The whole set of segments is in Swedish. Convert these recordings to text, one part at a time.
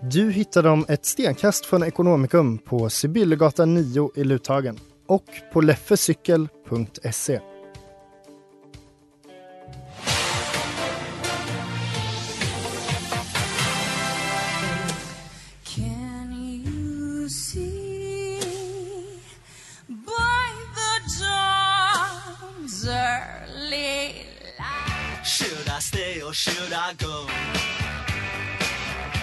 Du hittar dem ett stenkast från Ekonomikum på Sibyllegatan 9 i Luthagen och på leffecykel.se. Can you see by the dawn's early light? Should I stay or should I go?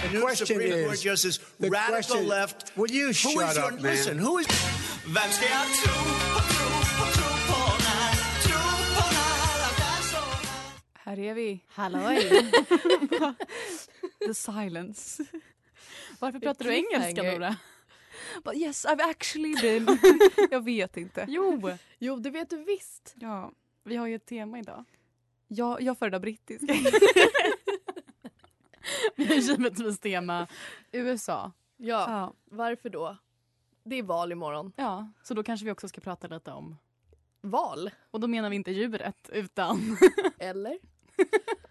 The new Supreme Court Justice, the radical question- left. Will you who is shut your, up, man? Listen, who is? Vem ska jag tro på, tro på, tro på när? Tro på när allt är så här? Här är vi. Halloj! The silence. Varför pratar du engelska cliffhanger. Nora? But yes, I've actually been... jag vet inte. Jo! Jo, det vet du visst. Ja, vi har ju ett tema idag. Jag, jag föredrar brittiska. Vi har givetvis tema USA. Ja, ja. varför då? Det är val imorgon. Ja, så då kanske vi också ska prata lite om. Val? Och då menar vi inte djuret utan Eller?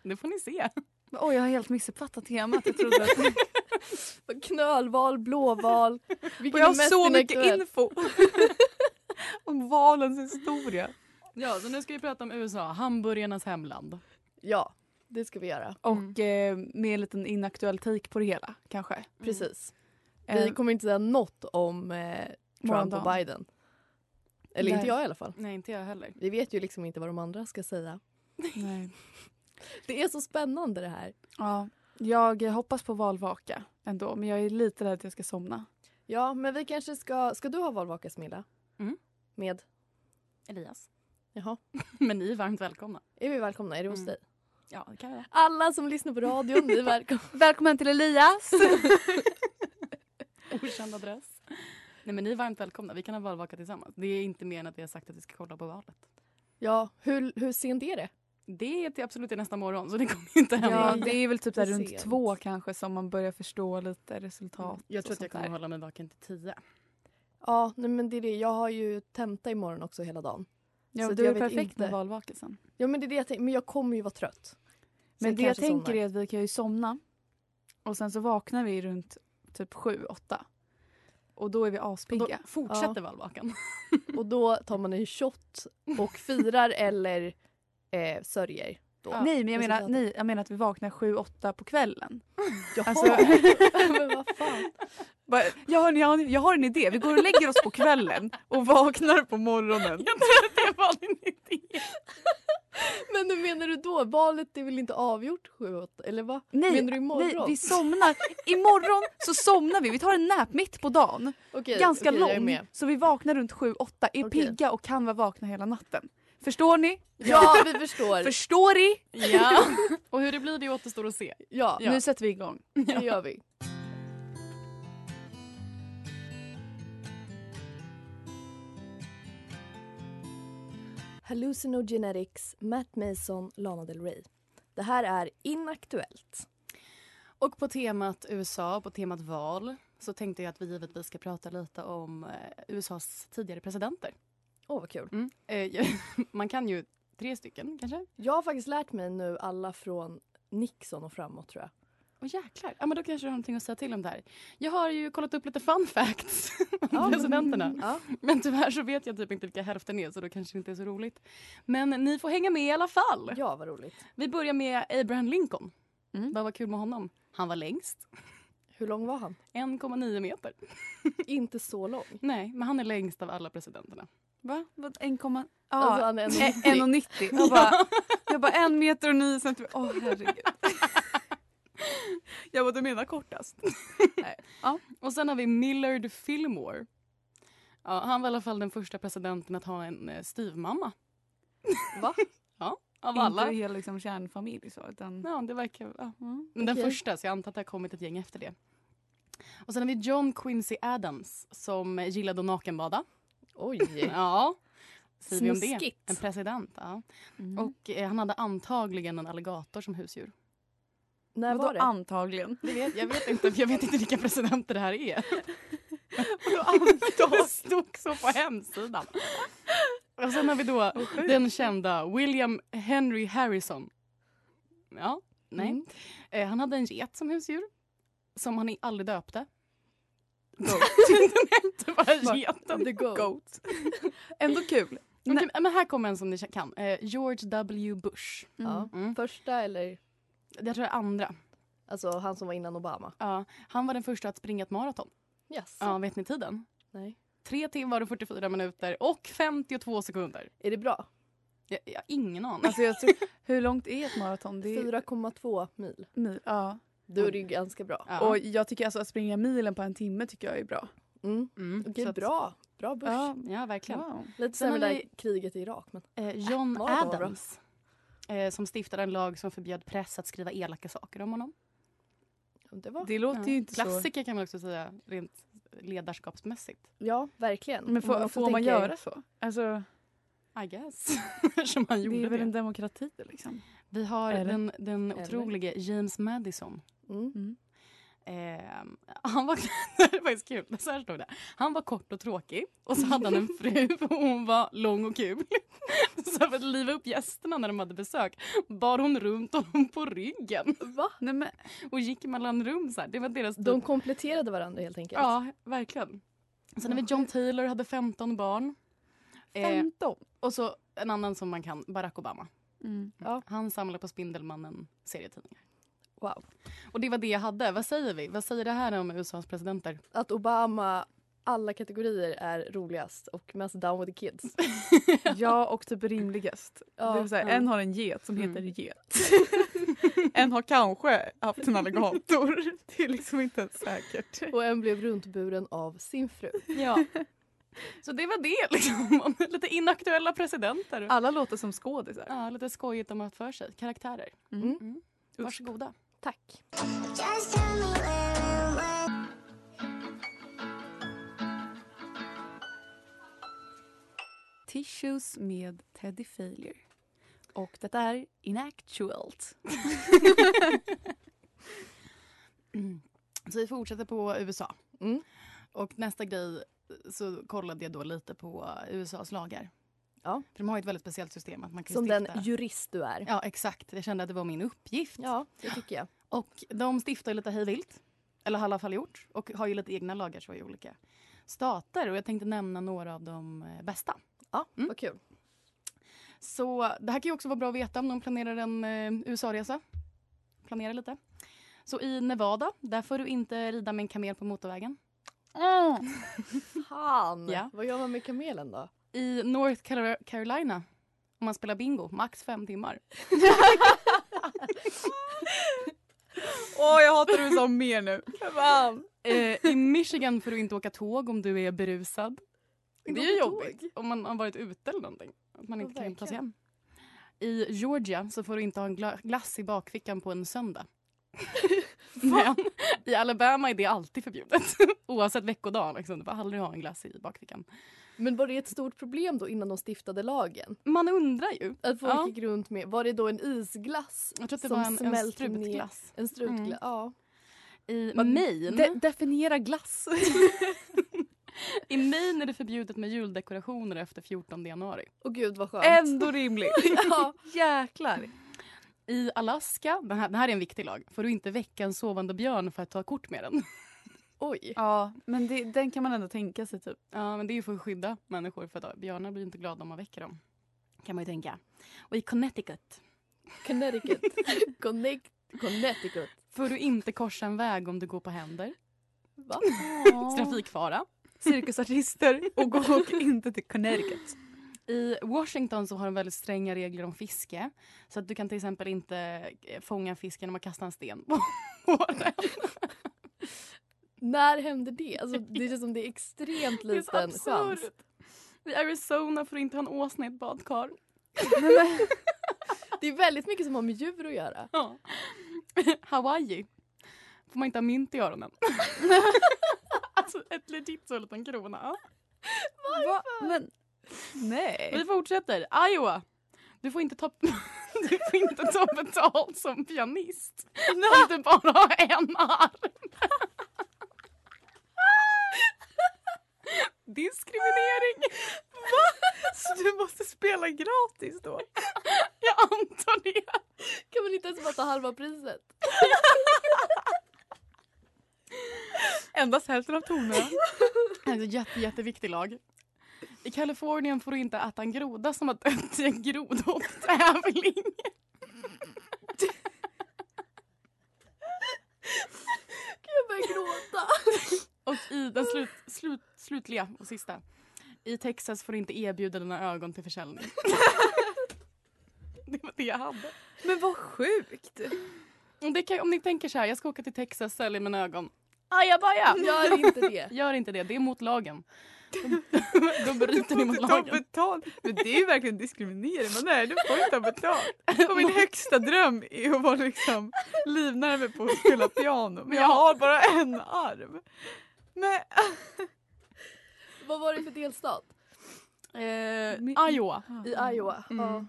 det får ni se. Oj, jag har helt missuppfattat temat. Jag trodde att... Knölval, blåval. Och Vilken jag är mest har så mycket inaktuell? info om valens historia. Ja, så nu ska vi prata om USA, hamburgarnas hemland. Ja, det ska vi göra. Och eh, med en liten inaktuell take på det hela, kanske. Mm. Precis. Vi Eh, kommer inte säga något om eh, Trump och morgondagen. Biden. Eller Nej. inte jag i alla fall. Nej, inte jag heller. Vi vet ju liksom inte vad de andra ska säga. Nej. Det är så spännande det här. Ja, jag eh, hoppas på valvaka ändå, men jag är lite rädd att jag ska somna. Ja, men vi kanske ska... Ska du ha valvaka, Smilla? Mm. Med? Elias. Jaha. Men ni är varmt välkomna. Är vi välkomna? Är det hos Mm. dig? Ja, det kan jag. Alla som lyssnar på radion, ni är välkomna. Välkommen till Elias! Okänd adress. Nej, men ni är varmt välkomna. Vi kan ha valvaka tillsammans. Det är inte mer än att vi har sagt att vi ska kolla på valet. Ja, hur, hur sent är det? Det är till absolut till nästa morgon, så det kommer inte hända. Ja, det är väl typ där runt sent. två kanske som man börjar förstå lite resultat. Jag tror och att sånt jag kommer där. hålla mig vaken till tio. Mm. Ja, nej, men det är det. Jag har ju tenta imorgon också hela dagen. Ja, så du jag är vet perfekt inte. med valvakelsen. Ja, men det är det jag tänker. Men jag kommer ju vara trött. Så Men det jag kanske tänker somnar. är att Mm. vi kan ju somna och sen så vaknar vi runt typ sju, åtta. Och då är vi Och då aspigga. fortsätter Ja. valvakan. Och då tar man en shot och firar eller eh, sörjer. Då. Ja. Nej, men jag Och så menar, pratar- nej, jag menar att vi vaknar sju, åtta på kvällen. Jaha! Alltså- men vad fan. Bara, jag, har, en- jag, har, en- jag har en idé, vi går och lägger oss på kvällen och vaknar på morgonen. Jag tror att det var din idé. Men hur menar du då? Valet är väl inte avgjort sju, åtta? Eller vad? menar du imorgon? nej, vi somnar. Imorgon så somnar vi. Vi tar en nap mitt på dagen. Okej, ganska okej, jag är lång. med. Så vi vaknar runt 7-8, är Okej. pigga och kan vara vakna hela natten. Förstår ni? Ja, vi förstår. Förstår ni? Ja. Och hur det blir det återstår att se. Ja, Ja. Nu sätter vi igång. det gör vi. Hallucinogenetics, Matt Mason, Lana Del Rey. Det här är inaktuellt. Och på temat USA, på temat val så tänkte jag att vi givetvis ska prata lite om eh, USAs tidigare presidenter. Åh, vad kul. Eh, Man kan ju tre stycken kanske. Jag har faktiskt lärt mig nu alla från Nixon och framåt tror jag. Åh jäklar, ja, men då kanske du har någonting att säga till om det här. Jag har ju kollat upp lite fun facts om Ja, men- presidenterna. Ja. Men tyvärr så vet jag typ inte vilka hälften är så då kanske det inte är så roligt. Men ni får hänga med i alla fall. ja, vad roligt. Vi börjar med Abraham Lincoln. Mm. Vad var kul med honom? Han var längst. Hur lång var han? 1,9 meter. Inte så lång. Nej, men han är längst av alla presidenterna. Va? Vad, 1,90? Ja, Alltså, han är eh, 1,90. 1,90. Jag bara, jag bara en meter och nio centimeter. Åh herregud. Jag var du menar kortast? Nej. Ja. Och sen har vi Millard Fillmore. Ja, han var i alla fall den första presidenten att ha en eh, styvmamma. Va? ja, av Inte alla. hel liksom, kärnfamilj så. Utan, Ja, det verkar... Ja. mm. Men den Okej. första, så jag antar att det har kommit ett gäng efter det. Och sen har vi John Quincy Adams som gillade att nakenbada. Oj. Ja, säger vi om det? Snuskigt. En president, ja. Mm. Och eh, han hade antagligen en alligator som husdjur. När Vadå var det? antagligen? Det vet, jag, vet inte, jag vet inte vilka presidenter det här är. Det stod så på hemsidan. Och sen har vi då den kända William Henry Harrison. Ja, nej. Mm. Eh, han hade en get som husdjur som han i- aldrig döpte. Goat. den hette bara geten. The Goat. Ändå kul. Okej, men här kommer en som ni kan. Eh, George W Bush. Ja. Mm. Första eller Jag tror det är andra. alltså han som var innan Obama? Ja, han var den första att springa ett maraton. Yes. Ja, vet ni tiden? Nej. Tre timmar och 44 minuter och 52 sekunder. Är det bra? Jag, jag har ingen aning. Alltså, jag tror, hur långt är ett maraton? Det är 4,2 mil. mil. Ja. Då är det ju ganska bra. Ja. Och jag tycker alltså att springa milen på en timme tycker jag är bra. Mm. Mm, Okej, så att- bra. Bra Bush. Ja, Ja, verkligen. wow. Lite Sen sämre har där vi- kriget i Irak. Men... Eh, John Var det bra? Adams. Eh, som stiftade en lag som förbjöd press att skriva elaka saker om honom. Det var... Det låter Ja. ju inte så... Klassiker kan man också säga rent ledarskapsmässigt. Ja, Mm. verkligen. Men Om får, också får man tänker- göra så? Alltså, I guess. Eftersom han det gjorde är det. väl en demokrati liksom. Vi har Eller? den, den Eller? otrolige James Madison. Mm. Eh, han var, det här är faktiskt kul. Så här står det. Han var kort och tråkig och så hade han en fru och hon var lång och kul. Så för att liva upp gästerna när de hade besök bar hon runt honom på ryggen Va? Nej, men, och gick mellan rum så här. Det var deras De kompletterade varandra helt enkelt. Ja, verkligen. Sen har vi John Taylor, hade 15 barn. Eh, 15? och så en annan som man kan, Barack Obama. Mm. Han samlade på Spindelmannen-serietidningar. Wow. Och det var det jag hade. Vad säger vi? Vad säger det här om USAs presidenter? Att Obama, alla kategorier är roligast och mest down with the kids. Ja, och typ rimligast. Ja, det vill säga, ja. En har en get som Mm. heter get. en har kanske haft en alligator. Det är liksom inte ens säkert. Och en blev runtburen av sin fru. Ja. så det var det liksom. Om Lite inaktuella presidenter. Alla låter som skådisar. Ja, lite skojigt de har haft för sig. Karaktärer. Mm. Mm. Varsågoda. Tack. Just tell me where you went. Tissues med Teddy Failure. Och detta är Inactualt. Så vi fortsätter på USA. Mm. Och nästa grej så kollade jag då lite på USAs lagar. Ja. För de har ju ett väldigt speciellt system. Att man kan ju Som den stifta... jurist du är. Ja, exakt. Jag kände att det var min uppgift. Ja, det tycker jag. Och de stiftar ju lite hejvilt. Eller har i alla fall gjort. Och har ju lite egna lagar så i olika stater. Och jag tänkte nämna några av de eh, bästa. Ja, Mm. vad kul. Så det här kan ju också vara bra att veta om de planerar en eh, USA-resa. Planera lite. Så i Nevada, där får du inte rida med en kamel på motorvägen. Fan! Ja. Vad gör man med kamelen då? I North Caro- Carolina, om man spelar bingo, max fem timmar. Åh, jag hatar USA mer nu. Eh, I Michigan får du inte åka tåg om du är berusad. Det är ju jobbigt om man har varit ute eller någonting. Att man Ja, inte kan ta sig verkligen. hem. I Georgia så får du inte ha en gla- glass i bakfickan på en söndag. Men i Alabama är det alltid förbjudet. Oavsett veckodag. Liksom. Du får aldrig ha en glass i bakfickan. Men var det ett stort problem då innan de stiftade lagen? Man undrar ju. Att folk Ja. gick runt med, var det då en isglass? Jag tror att det som var en, en smälte ner- strutglass. En strutglass, Mm. ja. I Maine, De- definiera glass. I Maine är det förbjudet med juldekorationer efter 14 januari. Och gud vad skönt. Ändå rimligt. ja. Jäklar. I Alaska, den här, den här är en viktig lag, får du inte väcka en sovande björn för att ta kort med den. Oj. Ja, men det, den kan man ändå tänka sig typ. Ja, men det är ju för att skydda människor för att björnar blir ju inte glada om man väcker dem. Kan man ju tänka. Och i Connecticut Connecticut. Connect- Connecticut. Får du inte korsa en väg om du går på händer? Va? Trafikfara. Cirkusartister och gå och inte till Connecticut. I Washington så har de väldigt stränga regler om fiske. Så att du kan till exempel inte eh, fånga en fisk genom att kasta en sten på den. När hände det? Alltså, det känns som det är extremt Det är så liten absurt. chans. I Arizona får du inte ha en åsna i ett badkar. Det är väldigt mycket som har med djur att göra. Ja. Hawaii får man inte ha mynt i öronen. alltså ett legit så liten krona. Va? Men nej. Vi fortsätter. Iowa. Du får inte ta, du får inte ta betalt som pianist. Om du bara har en arm. Diskriminering. Så du måste spela gratis då? Jag antar det. Kan man inte ens bara ta halva priset? Endast hälften av tonerna. Alltså, jätte, jätteviktig lag. I Kalifornien får du inte äta en groda som har dött i en grodhopptävling. Jag börjar gråta. Och i den slut, slut, slutliga och sista. I Texas får du inte erbjuda dina ögon till försäljning. Det var det jag hade. Men vad sjukt. Om, det kan, om ni tänker så här, jag ska åka till Texas och sälja mina ögon. Ajabaja! Gör inte det. Gör inte det, det är mot lagen. Då bryter ni mot Du får inte ta lagen. betalt. Men det är ju verkligen diskriminering. Man är, du får inte ha betalt. Och min högsta dröm är att vara liksom livnära mig på att spela piano. Men jag har bara en arm. Men Vad var det för delstat? Eh, Iowa. I Iowa? Mm. Ja.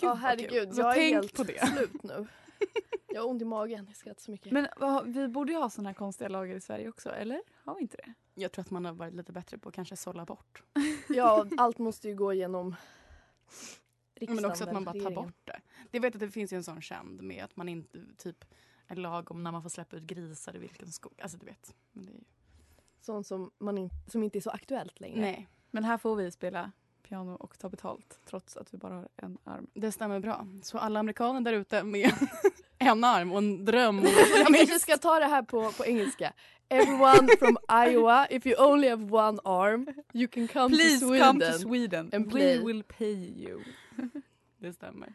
Ja vad herregud, kul. Så jag är tänk helt på det. slut nu. Jag har ont i magen, jag skrattar så mycket. Men vad- vi borde ju ha såna här konstiga lagar i Sverige också, eller? Har vi inte det? Jag tror att man har varit lite bättre på att kanske sålla bort. Ja, allt måste ju gå igenom riksdagen. Men också att man bara tar regeringen. bort det. Jag vet att det finns ju en sån känd med att man inte, typ en lag om när man får släppa ut grisar i vilken skog. Alltså du vet. Men det är ju... Sånt som, man in, som inte är så aktuellt längre. Nej, Men här får vi spela piano och ta betalt trots att vi bara har en arm. det stämmer bra. Så alla amerikaner där ute med en arm och en dröm. om- Jag kanske ska ta det här på, på engelska. Everyone from Iowa, if you only have one arm, you can come Please to Sweden. come to Sweden. and We play. will pay you. Det stämmer.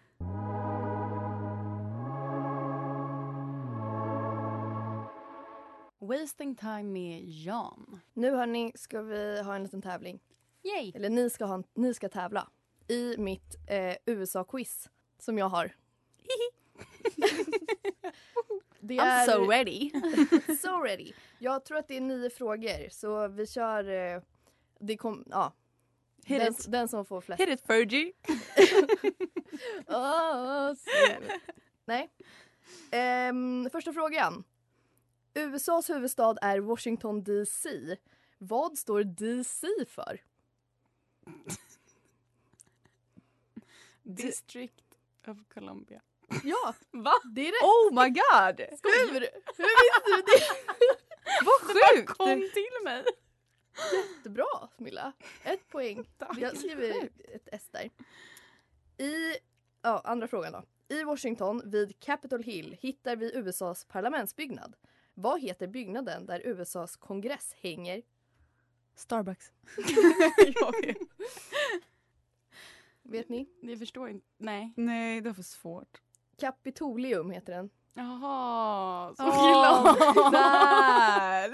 Wasting time med Jan. Nu hörni ska vi ha en liten tävling. Yay! Eller ni ska, ha en, ni ska tävla i mitt eh, USA-quiz som jag har. Det är- ready. so ready. Jag tror att det är nio frågor så vi kör... eh, Det kom, ja. Hit Den, it. den som får flest. it Fergie. Åh, ah, så- Nej. Ehm, första frågan. USAs huvudstad är Washington DC. Vad står DC för? District of Columbia. Ja, Va? det är rätt. Oh my god! Hur? Hur visste du det? Vad sjukt! Kom till mig! Jättebra, Smilla. Ett poäng. Jag skriver ett S där. I, ja, andra frågan då. I Washington, vid Capitol Hill, hittar vi USAs parlamentsbyggnad. Vad heter byggnaden där USAs kongress hänger? Starbucks. Jag vet. Vet ni? Ni förstår inte. Nej. Nej, det var för svårt. Kapitolium heter den. Jaha, så Åh, där!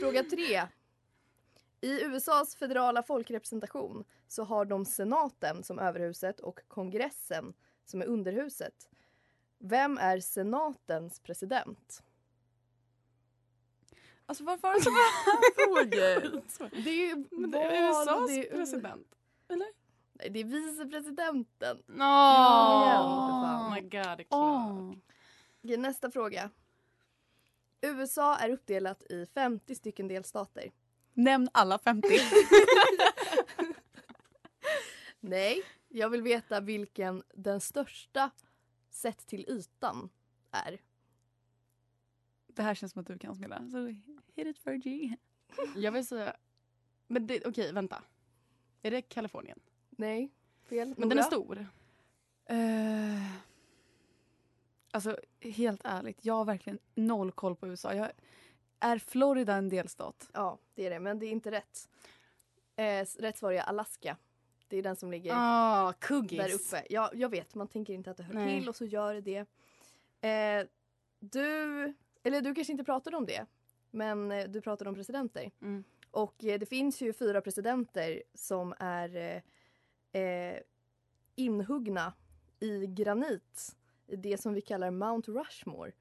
Fråga tre. I USAs federala folkrepresentation så har de senaten som överhuset och kongressen som är underhuset. Vem är senatens president? Alltså varför har du såna här frågor? Det är ju Men det är val, USAs det är- president. Nej, det är vicepresidenten. No. Ja, för fan. Oh my god, det är klart. Åh. Okej, nästa fråga. USA är uppdelat i 50 stycken delstater. Nämn alla 50. Nej, jag vill veta vilken den största sett till ytan är. Det här känns som att du kan spela. Så hit it Fergie. Jag vill säga... Men det, okej, vänta. Är det Kalifornien? Nej, fel. Men den är Nora? stor. Uh, Eh, Alltså helt ärligt, jag har verkligen noll koll på USA. Jag, är Florida en delstat? Ja, det är det. Men det är inte rätt. Eh, rätt svar är Alaska. Det är den som ligger Ah, kuggis. där uppe. Ja, jag vet, man tänker inte att det hör Nej. till och så gör det det. Eh, du, eller du kanske inte pratade om det, men eh, du pratade om presidenter. Mm. Och eh, det finns ju fyra presidenter som är eh, eh, inhuggna i granit i det som vi kallar Mount Rushmore.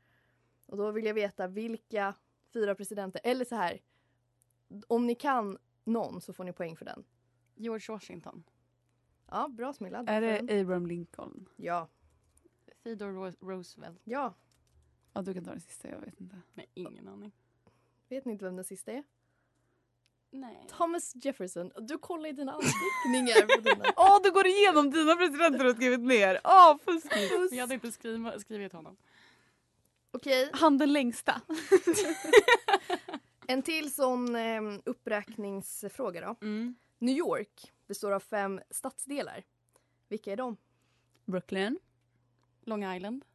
Och då vill jag veta vilka fyra presidenter, eller så här, om ni kan någon så får ni poäng för den. George Washington. Ja, bra Smilla. Du Är får den. det Abraham Lincoln? Ja. Theodore Ro- Roosevelt. Ja, Ja, du kan ta den sista, jag vet inte. Nej, ingen aning. Vet ni inte vem den sista är? Nej. Thomas Jefferson. Du kollar i dina anteckningar. på dina. Åh, du går igenom dina presidenter du har skrivit ner! Åh, fuskigt! Jag hade inte skriva, skrivit honom. Okej, Han den längsta. en till sån eh, uppräkningsfråga då. Mm. New York består av fem stadsdelar. Vilka är de? Brooklyn. Long Island.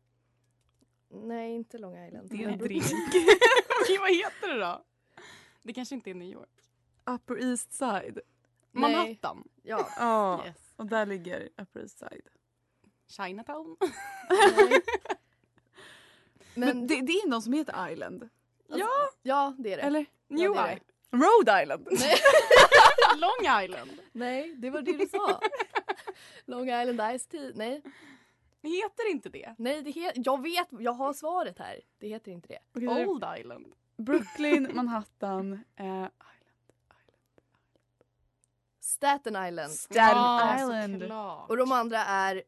Nej, inte Long Island. Det är Men en Brooklyn- drink. Vad heter det då? Det kanske inte är New York. Upper East Side. Nej. Manhattan. Ja, Ja, Yes. och där ligger Upper East Side. Chinatown. nej. Men, Men, det, det är någon som heter Island. ja, det är det. Eller? New det är det. York. Rhode Island! Long Island. Nej, det var det du sa. Long Island Ice Tea. Nej, Heter inte det? nej det heter, jag vet, jag har svaret här. Det heter inte det. Oh. Okej, det är Old Island. Brooklyn, Manhattan, eh, Island. Staten Island. Staten Ja, alltså, Island. såklart. Och de andra är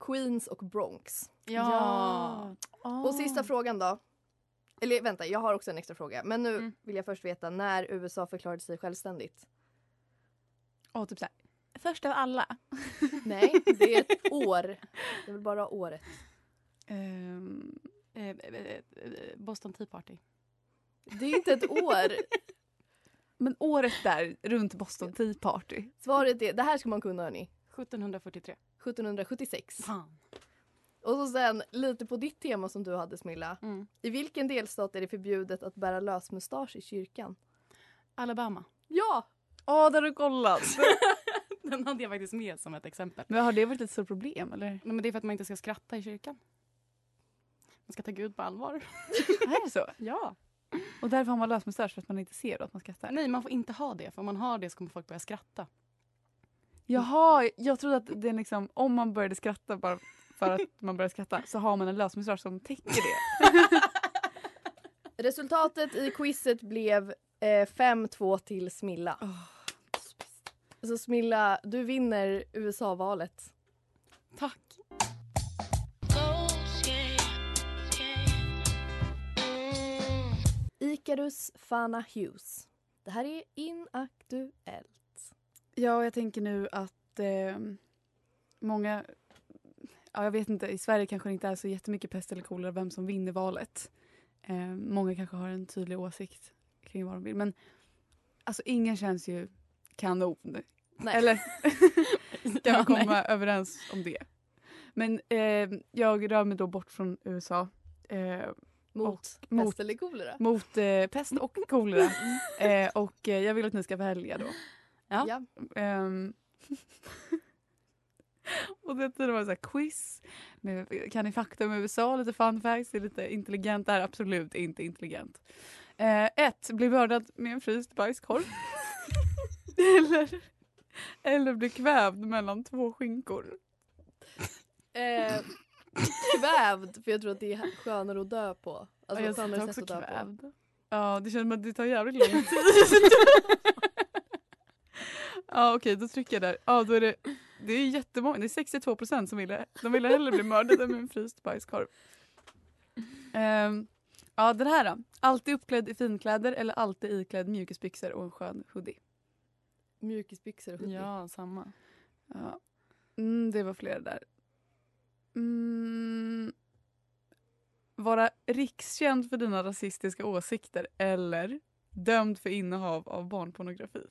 Queens och Bronx. Ja. Ja. Och sista frågan då. Eller vänta, jag har också en extra fråga. Men nu Mm. vill jag först veta när USA förklarade sig självständigt. Ja, typ såhär. Först av alla. Nej, det är ett år. Jag vill bara ha året. Ehm, Eh, eh, eh, Boston Tea Party. Det är inte ett år. men året där, runt Boston Tea Party. Svaret är, det här ska man kunna hörni. 1743. 1776. Fan. Och så sen lite på ditt tema som du hade Smilla. Mm. I vilken delstat är det förbjudet att bära lösmustasch i kyrkan? Alabama. Ja! Ja, där har du kollat. Den hade jag faktiskt med som ett exempel. men har det varit ett stort problem eller? Nej, men det är för att man inte ska skratta i kyrkan. Man ska ta Gud på allvar. är det så? Ja. Och därför har man lösmustasch för att man inte ser då att man skrattar? Nej, man får inte ha det. För om man har det så kommer folk börja skratta. Jaha, jag trodde att det är liksom, om man började skratta bara för att man började skratta så har man en lösmustasch som täcker det. Resultatet i quizet blev eh, 5-2 till Smilla. Så Smilla, du vinner USA-valet. Tack. Icarus Fana Hughes. Det här är inaktuellt. Ja, och jag tänker nu att eh, många, ja jag vet inte, i Sverige kanske det inte är så jättemycket pest eller kolera vem som vinner valet. Eh, många kanske har en tydlig åsikt kring vad de vill, men alltså ingen känns ju kanon. Nej. Eller kan Ja, vi komma nej. överens om det? Men eh, jag rör mig då bort från USA. Eh, Mot mot- pest eller kolera. mot eh, pest och kolera. Eh, och eh, jag vill att ni ska välja då. Ja. Ja. Ehm, och det tiden var det så här quiz. Med, kan ni fakta om USA? Lite fun facts. Det är lite intelligent. Det här är absolut inte intelligent. Eh, ett, bli mördad med en fryst bajskorv. eller, eller bli kvävd mellan två skinkor. Eh, kvävd, för jag tror att det är skönare att dö på. Alltså, Ja, jag skönare sitter sätt också att dö på. kvävd. Ja, det känns som att det tar jävligt lång tid. ja, okej, då trycker jag där. Ja, då är det, det är jättemånga, det är 62 procent som ville, de ville hellre bli mördade med en fryst bajskorv. Ehm, ja, den här då. Alltid uppklädd i finkläder eller alltid iklädd mjukisbyxor och en skön hoodie. Mjukisbyxor och hoodie. Ja, samma. Ja. Mm, det var flera där. Mm. Vara rikskänd för dina rasistiska åsikter eller dömd för innehav av barnpornografi.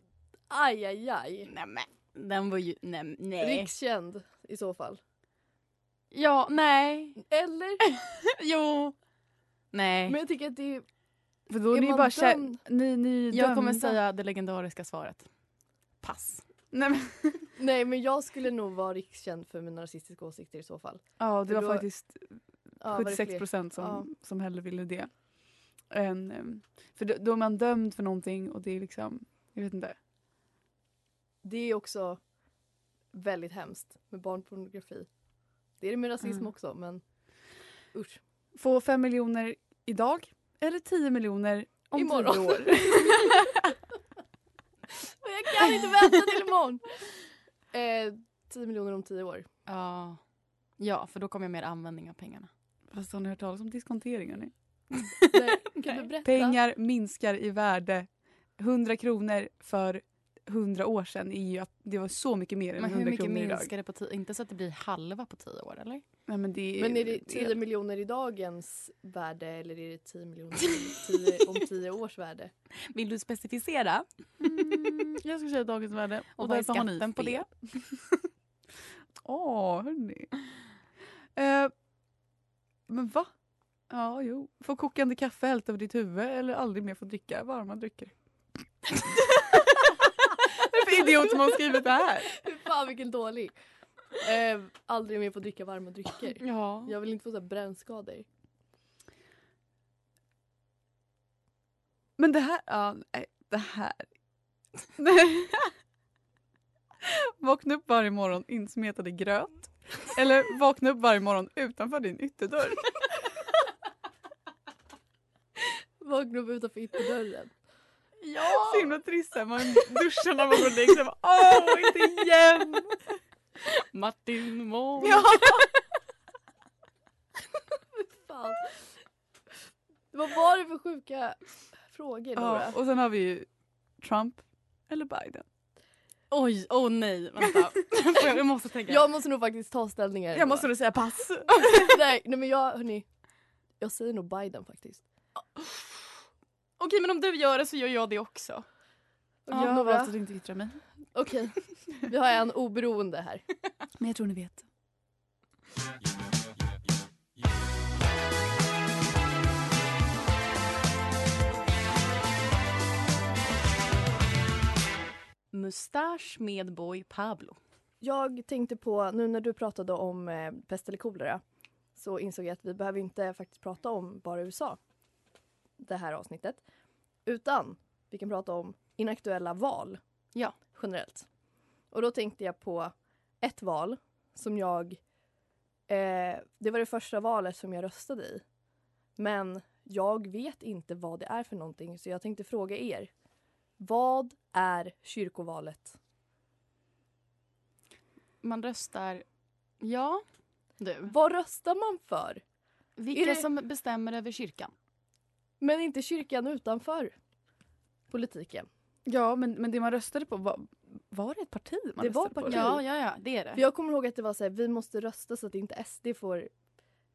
Aj, aj, aj. Nej, men. Den var ju... Nej. nej. Rikskänd i så fall. Ja, nej. Eller? Jo. Nej. Men jag tycker att det är... För då är, Är ni ju man bara kär... dömd? ni, ni är ju jag kommer dömda. säga det legendariska svaret. Pass. Nej, men... Nej men jag skulle nog vara rikskänd för mina rasistiska åsikter i så fall. Ja, det För var då- faktiskt Ja, var det 76 fler? procent som, Ja. som hellre ville det. Än, ehm, för då, då är man dömd för någonting och det är liksom, jag vet inte. Det är också väldigt hemskt med barnpornografi. Det är det med rasism Mm. också men usch. Få 5 miljoner idag eller 10 miljoner om Imorgon. 10 år. Och jag kan inte vänta till imorgon! Eh, 10 miljoner om 10 år. Ja. ja, för då kommer jag mer användning av pengarna. Fast har ni hört talas om diskontering? hörni? Nej, kan du berätta? Pengar minskar i värde. 100 kronor för 100 år sedan är ju att det var så mycket mer än Men hur 100 mycket kronor idag. minskar det på tio? Inte så att det blir halva på tio år eller? Nej, men, det är, Men är det 10 det- miljoner i dagens värde eller är det 10 miljoner om 10, om 10 års värde? Vill du specificera? Mm, jag ska säga dagens värde. Och, vad är därför har ni skatten på fel. det? Åh, hörni. Eh, men va? Ja, jo. Få kokande kaffe hällt över ditt huvud eller aldrig mer få dricka varma drycker. Vad är det för idiot som har skrivit det här? Fy fan vilken dålig. Eh, aldrig mer få dricka varma drycker. Ja. Jag vill inte få så här brännskador. Men det här... Ja, nej, det här... Nej. vakna upp varje morgon insmetad i gröt. Eller vakna upp varje morgon utanför din ytterdörr. Vakna upp utanför ytterdörren. Ja. Så himla trist. så här. Man duschar när man går och lägger sig. Bara, Åh, inte igen! Martin Mån. Ja. Fan. Vad var det för sjuka frågor Nora? Ja, och sen har vi ju Trump eller Biden. Oj, åh oh, nej. Vänta. Får jag- jag måste tänka. Jag måste nog faktiskt ta ställningar. ändå. då säga pass. nej, nej men jag hörni. Jag säger nog Biden faktiskt. Okej men om du gör det så gör jag det också. Okej, Nora. inte yttra mig. Okej. Vi har en oberoende här. Men jag tror ni vet. Mustasch med boy Pablo. Jag tänkte på, nu när du pratade om eh, pest eller kolera så insåg jag att vi behöver inte faktiskt prata om bara USA det här avsnittet. Utan vi kan prata om inaktuella val Ja. generellt. Och då tänkte jag på ett val som jag... Eh, det var det första valet som jag röstade i. Men jag vet inte vad det är för någonting så jag tänkte fråga er. Vad är kyrkovalet? Man röstar... Ja. Du. Vad röstar man för? Vilka det- som bestämmer över kyrkan? Men inte kyrkan utanför politiken. Ja, men, men det man röstade på, var, var det ett parti man Det var röstade parti. på? Ja, ja, ja. Det är För det. jag kommer ihåg att det var så här, vi måste rösta så att inte SD får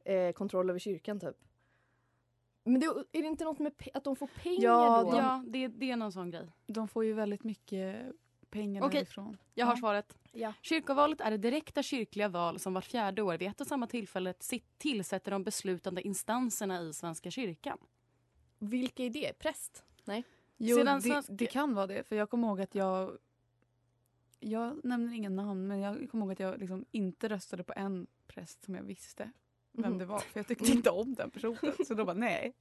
eh, kontroll över kyrkan typ. Men det, är det inte något med pe- att de får pengar Ja, då? Ja, det, det är någon sån grej. De får ju väldigt mycket pengar Okej. därifrån. Jag har Ja. svaret. Ja. Kyrkovalet är det direkta kyrkliga val som vart fjärde år vid ett och samma tillfälle sitt- tillsätter de beslutande instanserna i Svenska kyrkan. Vilka är det? Präst? Jo, Sedan det, svensk- det kan vara det. För jag kommer ihåg att jag... Jag nämner inga namn, men jag kommer ihåg att jag liksom inte röstade på en präst som jag visste vem Mhm. det var. För jag tyckte inte om den personen. Så då bara nej.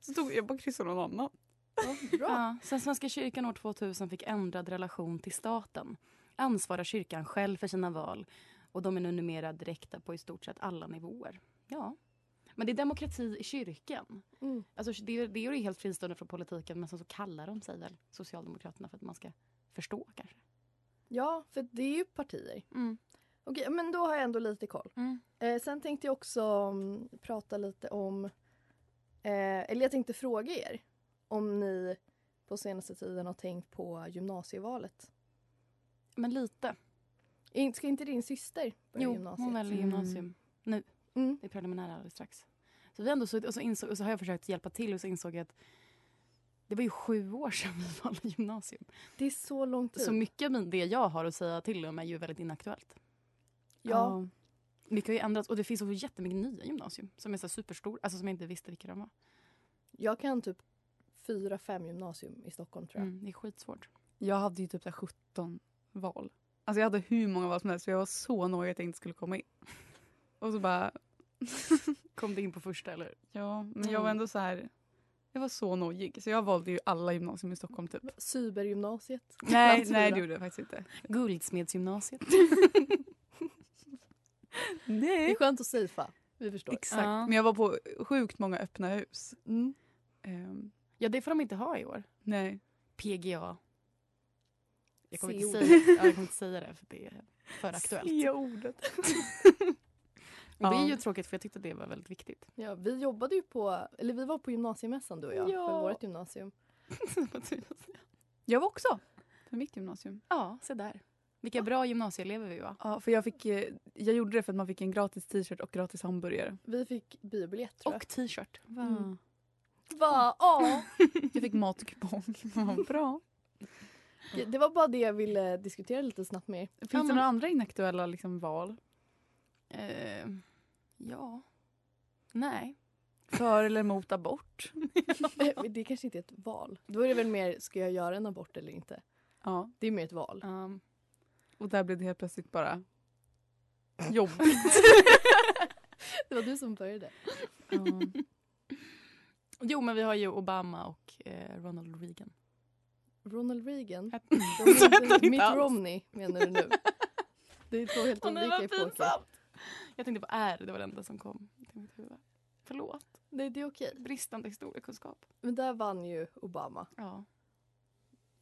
Så tog jag bara kryssade någon annan. Ja, bra. Ja, sen Svenska kyrkan år 2000 fick ändrad relation till staten ansvarar kyrkan själv för sina val och de är nu numera direkta på i stort sett alla nivåer. Ja. Men det är demokrati i kyrkan. Mm. Alltså, det, är- det är ju helt fristående från politiken men sen så kallar de sig väl Socialdemokraterna för att man ska förstå kanske. Ja, för det är ju partier. Mm. Okej, men då har jag ändå lite koll. Mm. Eh, sen tänkte jag också mm, prata lite om... Eh, eller jag tänkte fråga er om ni på senaste tiden har tänkt på gymnasievalet. Men lite. In- Ska inte din syster börja Jo, gymnasiet? hon väljer gymnasium nu. Mm. Det är preliminära alldeles strax. Så vi har ändå suttit och så, insåg, och så har jag försökt hjälpa till och så insåg jag att det var ju sju år sedan vi valde gymnasium. Det är så Typ. lång tid. Så mycket av min- det jag har att säga till om är ju väldigt inaktuellt. ja, Mycket har ju ändrats och det finns också jättemycket nya gymnasium som är så här superstora, alltså som jag inte visste vilka de var. Jag kan typ fyra, fem gymnasium i Stockholm tror jag. Mm, det är skitsvårt. Jag hade ju typ så här 17 val. Alltså jag hade hur många val som helst för jag var så nojig att jag inte skulle komma in. Och så bara, Kom du in på första eller? ja, men jag var ändå så här, jag var så nojig. Så jag valde ju alla gymnasium i Stockholm typ. Cybergymnasiet. Nej, Bland nej fyra. det gjorde jag faktiskt inte. Guldsmedsgymnasiet. Det är Nej. skönt att safea. Vi förstår. Exakt, Ja. men jag var på sjukt många öppna hus. Mm. Ehm, Ja, det får de inte ha i år. nej. PGA. Jag kommer, inte CO. säga, ja, jag kommer inte säga det för det är för aktuellt. ordet. Och det är Ja. ju tråkigt för jag tyckte det var väldigt viktigt. Ja, vi jobbade ju på, eller vi var på gymnasiemässan du och jag Ja. för vårt gymnasium. Jag var också på mitt gymnasium. ja, se där. Vilka bra gymnasieelever vi var. Ja, för jag, fick, eh, jag gjorde det för att man fick en gratis t-shirt och gratis hamburgare. Vi fick biobiljett tror jag. Och t-shirt. Mm. Va, ja. Jag fick matkupong. Vad Bra. Det var bara det jag ville diskutera lite snabbt med er. Finns Ja, det men- några andra inaktuella liksom, val? Eh, ja. Nej. För eller emot abort? Det kanske inte är ett val. Då är det väl mer, ska jag göra en abort eller inte? Ja, Det är mer ett val. Um, Ehm, och där blev det helt plötsligt bara jobbigt. Det var du som började. ja. jo, men vi har ju Obama och eh, Ronald Reagan. Ronald Reagan. Hette- De Så hette heter han inte Mitt alls. Romney menar du nu. Det är två helt Åh, nej, olika vad epoker. pinsamt! Jag tänkte på R, det var det enda som kom till mitt huvud. Förlåt. Nej, det är okej. Bristande historiekunskap. Men där vann ju Obama. Ja.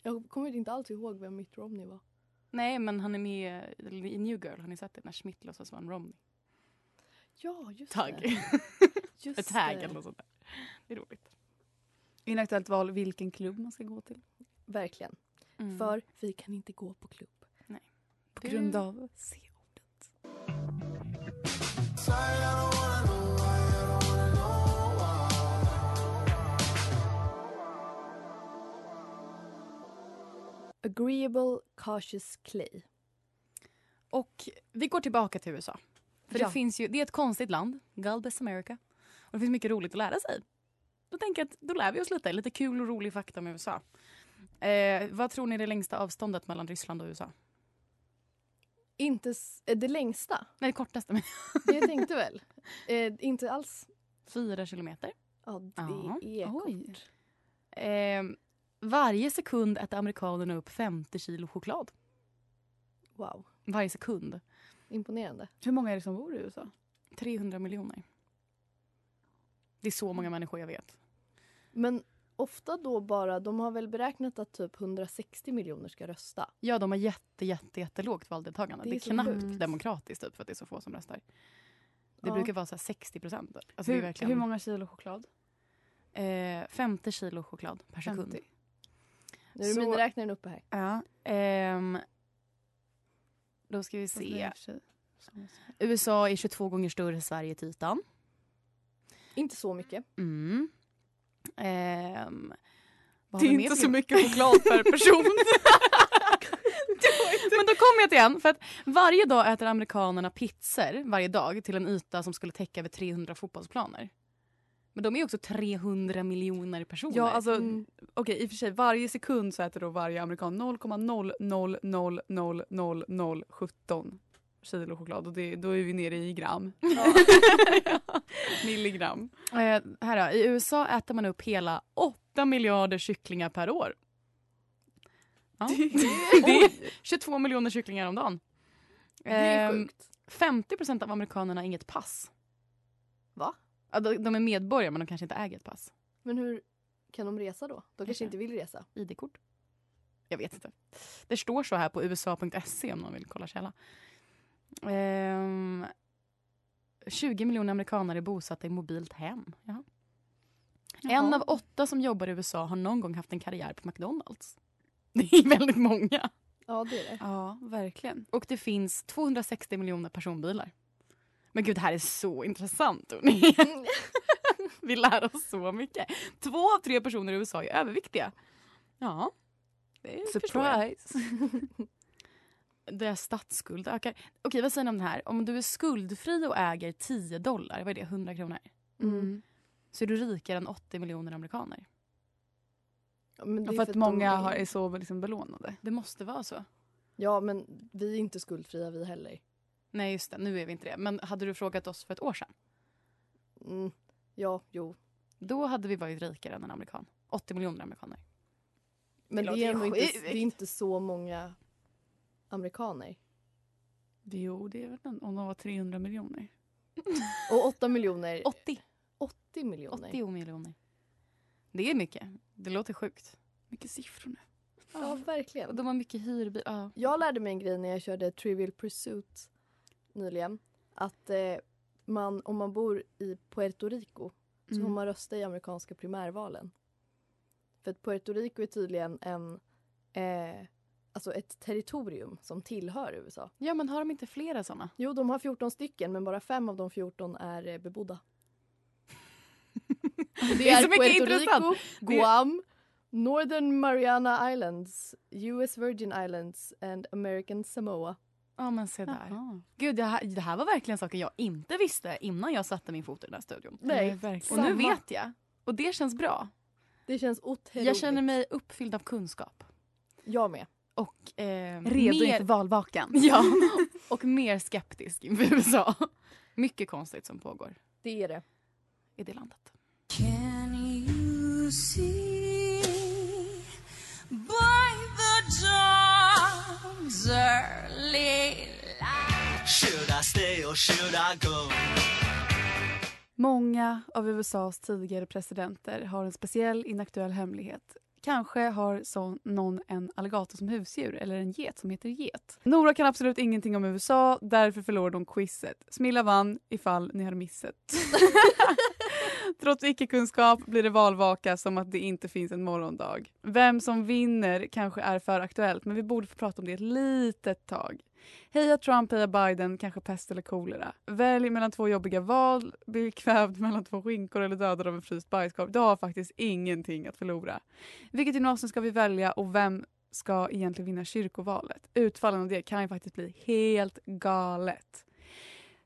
Jag kommer inte alls ihåg vem Mitt Romney var. Nej, men han är med i New Girl. Har ni sett det? När Schmidt låtsas vara en Romney. Ja, just Tagg. det. Just Ett tag det. eller något sånt där. Det är roligt. Inaktuellt val, vilken klubb man ska gå till. Verkligen. Mm. För vi kan inte gå på klubb. På grund av Agreeable cautious clay. Och vi går tillbaka till USA. För Ja. det, finns ju, det är ett konstigt land, Galbes America. Och det finns mycket roligt att lära sig. Då tänker jag att då lär vi oss lite. Lite kul och rolig fakta om USA. Eh, vad tror ni är det längsta avståndet mellan Ryssland och USA? Inte s- eh, det längsta. Nej, det kortaste. men- Det jag tänkte väl. Eh, inte alls. Fyra kilometer. Ja, det Ja. är kort. Oj. Eh, varje sekund äter amerikanerna upp 50 kilo choklad. Wow. Varje sekund. Imponerande. Hur många är det som bor i USA? 300 miljoner. Det är så Mm. många människor jag vet. Men ofta då bara, de har väl beräknat att typ 160 miljoner ska rösta. Ja, de har jätte, jätte, jättelågt valdeltagande. Det Det är är, så knappt sjukt. demokratiskt typ, för att det är så få som röstar. Det Ja. brukar vara så här 60 procent. Alltså, det är hur, verkligen, hur många kilo choklad? Eh, 50 kilo choklad per sekund. 50. Nu är Så- miniräknaren uppe här. Ja. Ehm, då ska vi fast det är i se. och för sig samma sak. USA är 22 gånger större än Sverige till ytan. Inte så mycket. Mm. Ehm, vad Det har är vi mer inte för- så mycket choklad per person. Men då kommer jag till en. För att varje dag äter amerikanerna pizzor varje dag till en yta som skulle täcka över 300 fotbollsplaner. Men de är ju också 300 miljoner personer. ja, alltså, okej, i och för sig, varje sekund så äter då varje amerikan 0,000000017 kilo choklad och det, då är vi nere i gram. Milligram. Eh, här då, I USA äter man upp hela 8 miljarder kycklingar per år. Ja. Det är 22 miljoner kycklingar om dagen. Det är Ehm, sjukt. 50 av amerikanerna har inget pass. Va? Ja, de, de är medborgare, men de kanske inte äger ett pass. Men hur kan de resa då? De kanske inte vill resa. ID-kort? Jag vet inte. Det står så här på usa.se E om någon vill kolla källa. Ehm, 20 miljoner amerikaner är bosatta i mobilt hem. Jaha. En av åtta som jobbar i USA har någon gång haft en karriär på McDonalds. Det är väldigt många. Ja, det är det. Ja, verkligen. Och det finns 260 miljoner personbilar. Men gud, det här är så intressant. hörni. Vi lär oss så mycket. Två av tre personer i USA är överviktiga. Ja, det förstår jag. Surprise. deras statsskuld ökar. Okej, vad säger ni om det här? Om du är skuldfri och äger 10 dollar, vad är det, 100 kronor? Mm. Så är du rikare än 80 miljoner amerikaner. Ja, men det Ja, är för att de många är- har, är så liksom belånade. Det måste vara så. Ja, men vi är inte skuldfria vi heller. Nej, just det. Nu är vi inte det. Men hade du frågat oss för ett år sedan, Mm. Ja, jo. då hade vi varit rikare än en amerikan. 80 miljoner amerikaner. Men det, Det är låter ändå inte, sjukt. det är inte så många amerikaner. Jo, det är väl en, om de var 300 miljoner. Och 8 miljoner. Eh, 80. 80 miljoner. 80 miljoner. Det är mycket. Det låter sjukt. Mycket siffror nu. Ja, Och verkligen. de har mycket hyrbil. Ja. Jag lärde mig en grej när jag körde Trivial Pursuit nyligen. Att eh, man, om man bor i Puerto Rico så får Mm. man rösta i amerikanska primärvalen. För att Puerto Rico är tydligen en, eh, alltså ett territorium som tillhör USA. ja, men har de inte flera såna? Jo, de har 14 stycken men bara fem av de 14 är eh, bebodda. Det, är är, så mycket Puerto intressant. Rico, Det- Guam, Northern Mariana Islands, US Virgin Islands and American Samoa. Ja, men se där. Jaha. Gud, det här, det här var verkligen saker jag inte visste innan jag satte min fot i den här studion. Nej, Och verkligen. nu vet jag. Och det känns bra. Det känns otroligt. Jag känner mig uppfylld av kunskap. Jag med. Och, eh, Redo mer, inför valvakan. Ja, och mer skeptisk inför USA. Mycket konstigt som pågår Det är det. i det landet. Can you see by the dawn's early light? Should I stay or should I go? Många av USAs tidigare presidenter har en speciell inaktuell hemlighet. Kanske har så någon en alligator som husdjur eller en get som heter get. Nora kan absolut ingenting om USA, därför förlorade hon quizet. Smilla vann ifall ni har missat. Trots icke-kunskap blir det valvaka som att det inte finns en morgondag. Vem som vinner kanske är för aktuellt, men vi borde få prata om det ett litet tag. Heja Trump, heja Biden, kanske pest eller kolera. Välj mellan två jobbiga val, bli kvävd mellan två skinkor eller dödad av en fryst bajskorv. Du har faktiskt ingenting att förlora. Vilket gymnasium ska vi välja och vem ska egentligen vinna kyrkovalet? Utfallen av det kan ju faktiskt bli helt galet.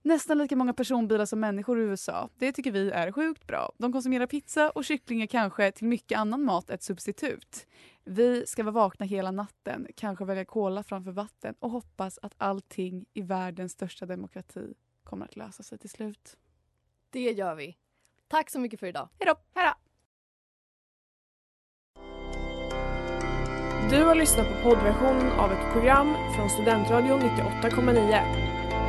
Nästan lika många personbilar som människor i USA. Det tycker vi är sjukt bra. De konsumerar pizza och kycklingar kanske till mycket annan mat ett substitut. Vi ska vara vakna hela natten, kanske välja cola framför vatten och hoppas att allting i världens största demokrati kommer att lösa sig till slut. Det gör vi. Tack så mycket för idag. Hej då! Hej då! Du har lyssnat på poddversionen av ett program från Studentradion 98,9.